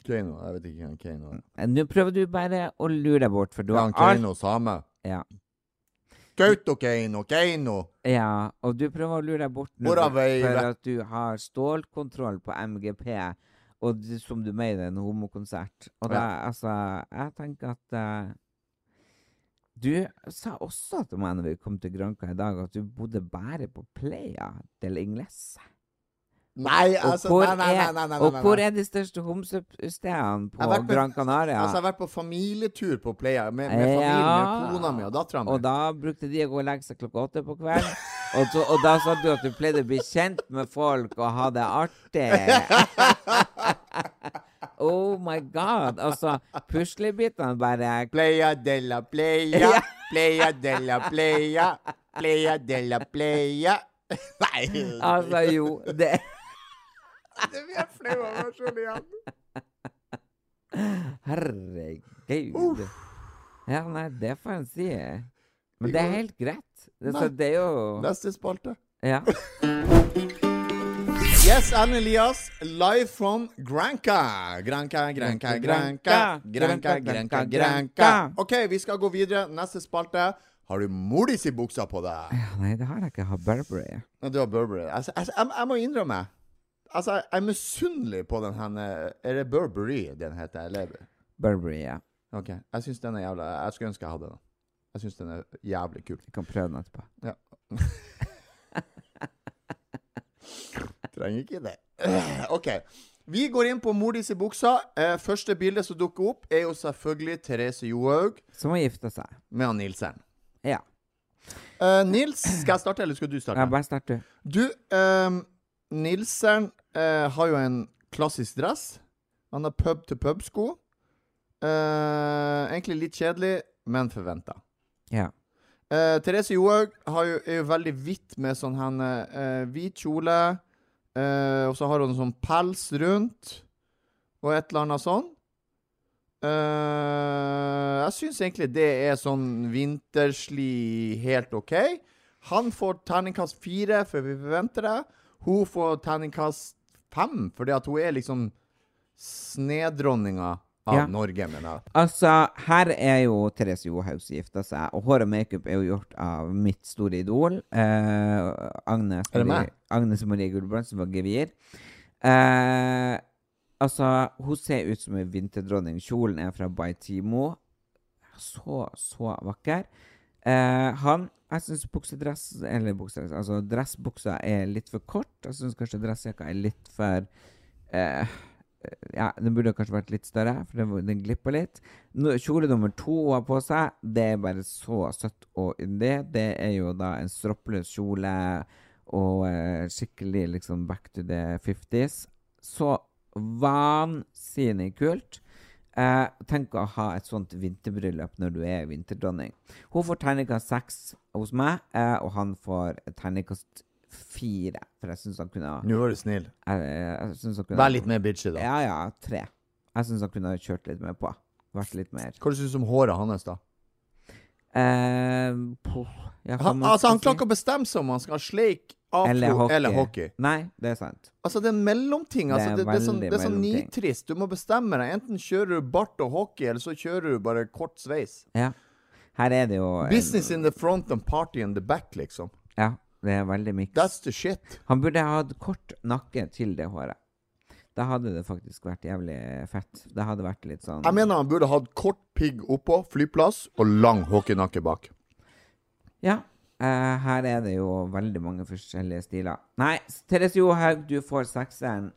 Keiino. Jeg vet ikke hvem Keiino er.
Eh, Nå prøver du bare å lure deg bort, for du
Ja,
har
han
alt
Keiino same.
Ja.
Kautokeino, Keiino.
Ja, og du prøver å lure deg bort nå
Hvordan
for
vei-
for at du har stålkontroll på MGP, og du, som du mener er en homokonsert. Og da, altså, jeg tenker at eh, Du sa også til meg når vi kom til Granca i dag, at du bodde bare på Playa del Ingles.
Nei,
Og,
altså
hvor,
nei, nei, nei,
er,
nei, nei, nei,
og
nei.
hvor er de største homsestedene
Jeg
på
har vært på-
Gran Canaria?
Altså, jeg har vært på familietur på Playa med, med familien, med kona mi og dattera mi.
Og da brukte de å gå og legge seg klokka åtte på kvelden. Og, så, og da sa du at du pleide å bli kjent med folk og ha det artig. oh my god. Altså, puslebitene bare
Playa de la playa, playa de la playa, playa de la playa. <laughs> Nei,
Altså, jo. Det
det blir jeg flau av meg sjøl igjen.
Herregud. Ja, nei, det får en si. Men det er helt greit. Det, så det er jo
Neste spalte.
Ja.
Yes, Erlend Elias, live from Granca. Granca, Granca, Granca. Granca, Granca, Granca. OK, vi skal gå videre. Neste spalte. Har du mor di si buksa på deg?
Ja, Nei, det har jeg ikke. Jeg har Burberry.
Ja, du har Burberry. Altså, altså, jeg, jeg må innrømme Altså, jeg er misunnelig på den her Er det Burberry den heter? Eller?
Burberry, ja.
Ok, Jeg syns den er jævla Jeg skulle ønske jeg hadde den. Jeg syns den er jævlig kul.
Vi kan prøve den etterpå.
Trenger ikke det. <clears throat> OK. Vi går inn på mor di i buksa. Eh, første bilde som dukker opp, er jo selvfølgelig Therese Johaug
Som har gifta seg.
med han Nilsen.
Ja.
Eh, Nils, skal jeg starte, eller skal du
ja
starte?
bare start, du.
Du, ehm, Nilsen eh, har jo en klassisk dress. Han har pub-til-pub-sko. Eh, egentlig litt kjedelig, men forventa.
Ja.
Eh, Therese Johaug har jo, er jo veldig hvitt med sånn henne eh, Hvit kjole, eh, og så har hun sånn pels rundt, og et eller annet sånn. Eh, jeg syns egentlig det er sånn vinterslig helt OK. Han får terningkast fire, for vi forventer det. Hun får terningkast fem, fordi at hun er liksom snedronninga av
Ja.
Norge, mener jeg.
Altså, her er jo Therese Johaug som gifta seg, og hår og makeup er jo gjort av mitt store idol, eh, Agnes,
Er det
Marie,
meg?
Agnes Marie Gulbrandsen var gevir. Eh, altså, hun ser ut som en vinterdronning. Kjolen er fra Baitimo. Så, så vakker. Eh, han Jeg syns buksedress Eller buksedress, altså dressbuksa er litt for kort. Jeg syns kanskje dressjakka er litt for eh, ja, den burde kanskje vært litt større, for den, den glipper litt. Nå, kjole nummer to hun har på seg, det er bare så søtt og yndig. Det er jo da en stroppløs kjole og eh, skikkelig liksom back to the 50s. Så vansinnig kult. Eh, tenk å ha et sånt vinterbryllup når du er vinterdronning. Hun får terningkast seks hos meg, eh, og han får terningkast fire, for jeg syns han kunne ha-
Nå er du snill.
jeg, jeg synes han kunne ha-
Vær litt mer bitchy, da.
ja, ja, tre. Jeg syns han kunne ha kjørt litt mer på. Vært litt mer
Hva syns du om håret hans, da?
eh, puh, ja, hva
Han,
man
altså,
skal
han
si?
klarer ikke å bestemme seg om han skal ha sleik, afro
Eller
eller
hockey.
hockey.
Nei, det er sant.
Altså, det er en mellomting. Altså,
Det
det,
er
det, er sånn,
veldig
det er sånn
mellomting.
nitrist. Du må bestemme deg. Enten kjører du bart og hockey, eller så kjører du bare kort sveis.
Ja. Her er det jo en-
Business in the front and party in the back, liksom.
Ja, det er veldig miks.
That's the shit.
Han burde ha hatt kort nakke til det håret. Da hadde det faktisk vært jævlig fett. Det hadde vært litt sånn
Jeg mener han burde hatt kort pigg oppå, flyplass, og lang hockeynakke bak.
Ja. eh, her er det jo veldig mange forskjellige stiler. Nei, Therese Johaug, du får sekseren.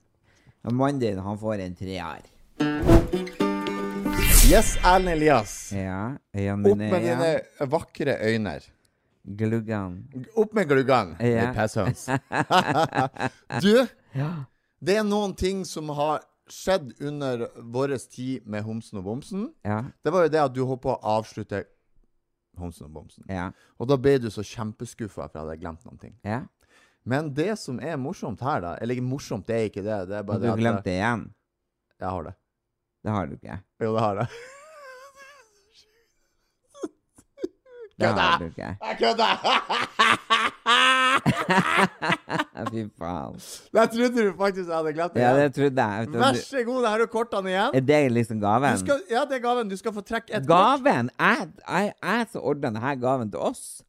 Og Mannen din, han får en treer.
Yes, Erlend Elias.
Ja. eh, Øynene
Opp
mine
med
igjen.
dine vakre øyne.
Gluggene.
Opp med gluggene,
Ja.
ditt
<laughs>
pesshøns. du,
Ja.
Det er noen ting som har skjedd under vår tid med Homsen og Bomsen.
Ja.
Det var jo det at du håpa å avslutte Homsen og Bomsen.
Ja.
Og da ble du så kjempeskuffa for at jeg hadde glemt noen ting.
ja.
Men det som er morsomt her, da Eller ikke morsomt, det er ikke det. Det er bare
Du
det at
glemte det igjen.
Jeg har det.
Det har du ikke.
Jo, det har jeg.
<laughs> Det har du ikke.
Jeg <laughs> kødder!
Fy faen.
Jeg trodde du faktisk jeg hadde glemt det.
Ja, det trodde jeg. vet du.
Vær så god, her er kortene igjen.
Er det liksom
Du
gaven?
skal, ja, det er gaven. Du skal få trekke et kort.
Gaven! Jeg, jeg, jeg som ordna denne gaven til oss.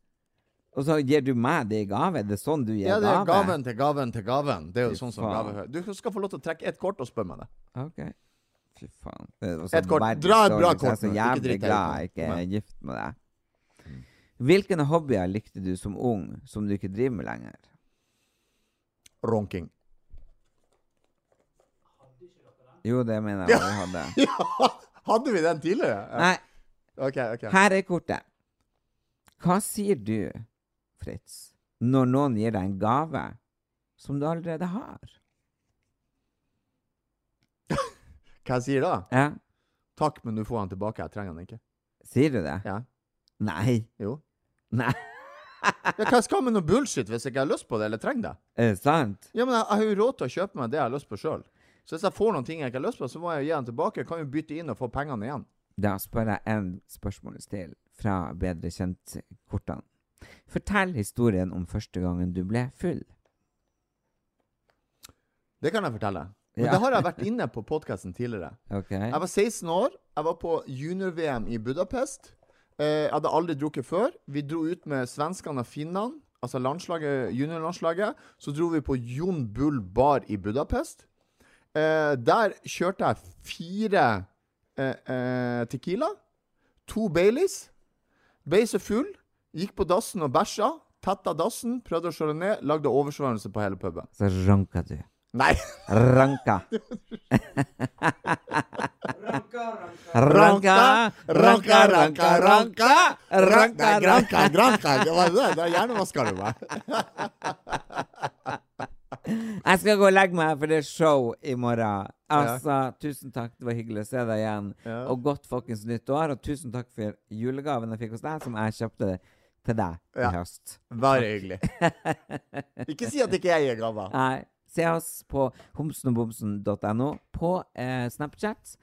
Og så gir du meg det i gave? Det er sånn du gir
Ja, det er
gave?
gaven til gaven til gaven. Det er jo
Fy
sånn som
faen.
gave hører. Du skal få lov til å trekke ett kort og spørre meg det.
Ok. Fy faen. Det var
Et kort.
verdens
Dra et bra
dårligste. Jeg er
kort nå.
så
Ikke
jævlig
dritt deg ut
glad
nå.
jeg ikke er
Men-
gift med deg. Hvilke hobbyer likte du som ung, som du ikke driver med lenger?
Ronking. <laughs>
Jo, det mener jeg vi hadde.
<laughs> Ja, hadde vi den tidligere?
Nei,
OK, OK.
Her er kortet. Hva sier du, Fritz, når noen gir deg en gave som du allerede har?
Hva jeg sier da?
Ja.
Takk, men du får den tilbake. Jeg trenger den ikke.
Sier du det?
Ja.
Nei.
Jo.
Nei.
Ja, hva skal jeg med noe bullshit hvis jeg ikke har lyst på det eller trenger det?
Er det sant?
Ja, men jeg, jeg har jo råd til å kjøpe meg det jeg har lyst på sjøl. Så hvis jeg får noen ting jeg ikke har lyst på, så må jeg jo gi den tilbake. Jeg kan jo bytte inn og få pengene igjen.
Da spør jeg en spørsmål til fra Bedre kjent-kortene. Fortell historien om første gangen du ble full.
Det kan jeg fortelle. Men
Ja.
det har jeg vært inne på podkasten tidligere.
Ok?
Jeg var 16 år. Jeg var på junior-VM i Budapest. Eh, jeg hadde aldri drukket før. Vi dro ut med svenskene og finnene, altså landslaget- juniorlandslaget. Så dro vi på Jon Bull bar i Budapest. Eh, der kjørte jeg fire eh, eh, tequila, to Baileys, Ble så full, gikk på dassen og bæsja. Tetta dassen, prøvde å slå det ned, lagde oversvømmelse på hele puben.
Så ranka du.
Nei! <laughs>
Ranka. <laughs>
Ranka,
ranka,
ranka, ranka, ranka. Ranka, ranka, ranka. Det var det. Da hjernevaska du meg.
Jeg skal gå og legge meg, for det er show i morgen. Altså, tusen takk. Det var hyggelig å se deg igjen.
Ja.
Og godt folkens nytt år. Og tusen takk for julegaven jeg fikk hos deg, som jeg kjøpte til deg
Ja.
i høst.
Bare hyggelig. <laughs> Ikke si at ikke jeg gir gaver.
Nei. Se oss på homsenogbomsen.no på eh, Snapchat.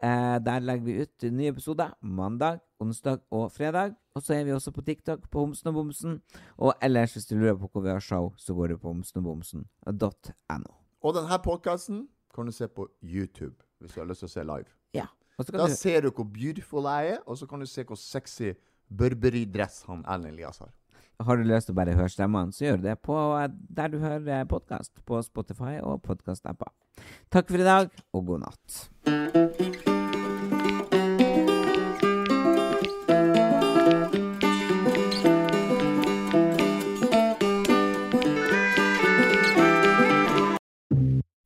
Eh, der legger vi ut nye episoder mandag, onsdag og fredag. Og så er vi også på TikTok på Homsen og Bomsen. Og ellers, hvis du lurer på hvor vi har show, så går du på homsenogbomsen.no.
Og denne podkasten kan du se på YouTube hvis du har lyst til å se live.
Ja. Og så kan
Da
du
ser du hvor beautiful jeg er, og så kan du se hvor sexy Burberry-dress han Erlend Elias har.
Har du lyst til å bare høre stemmene, så gjør du det på eh, der du hører podkast. På Spotify og podkast-apper. Takk for i dag, og god natt.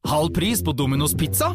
Halv pris på Domino's pizza?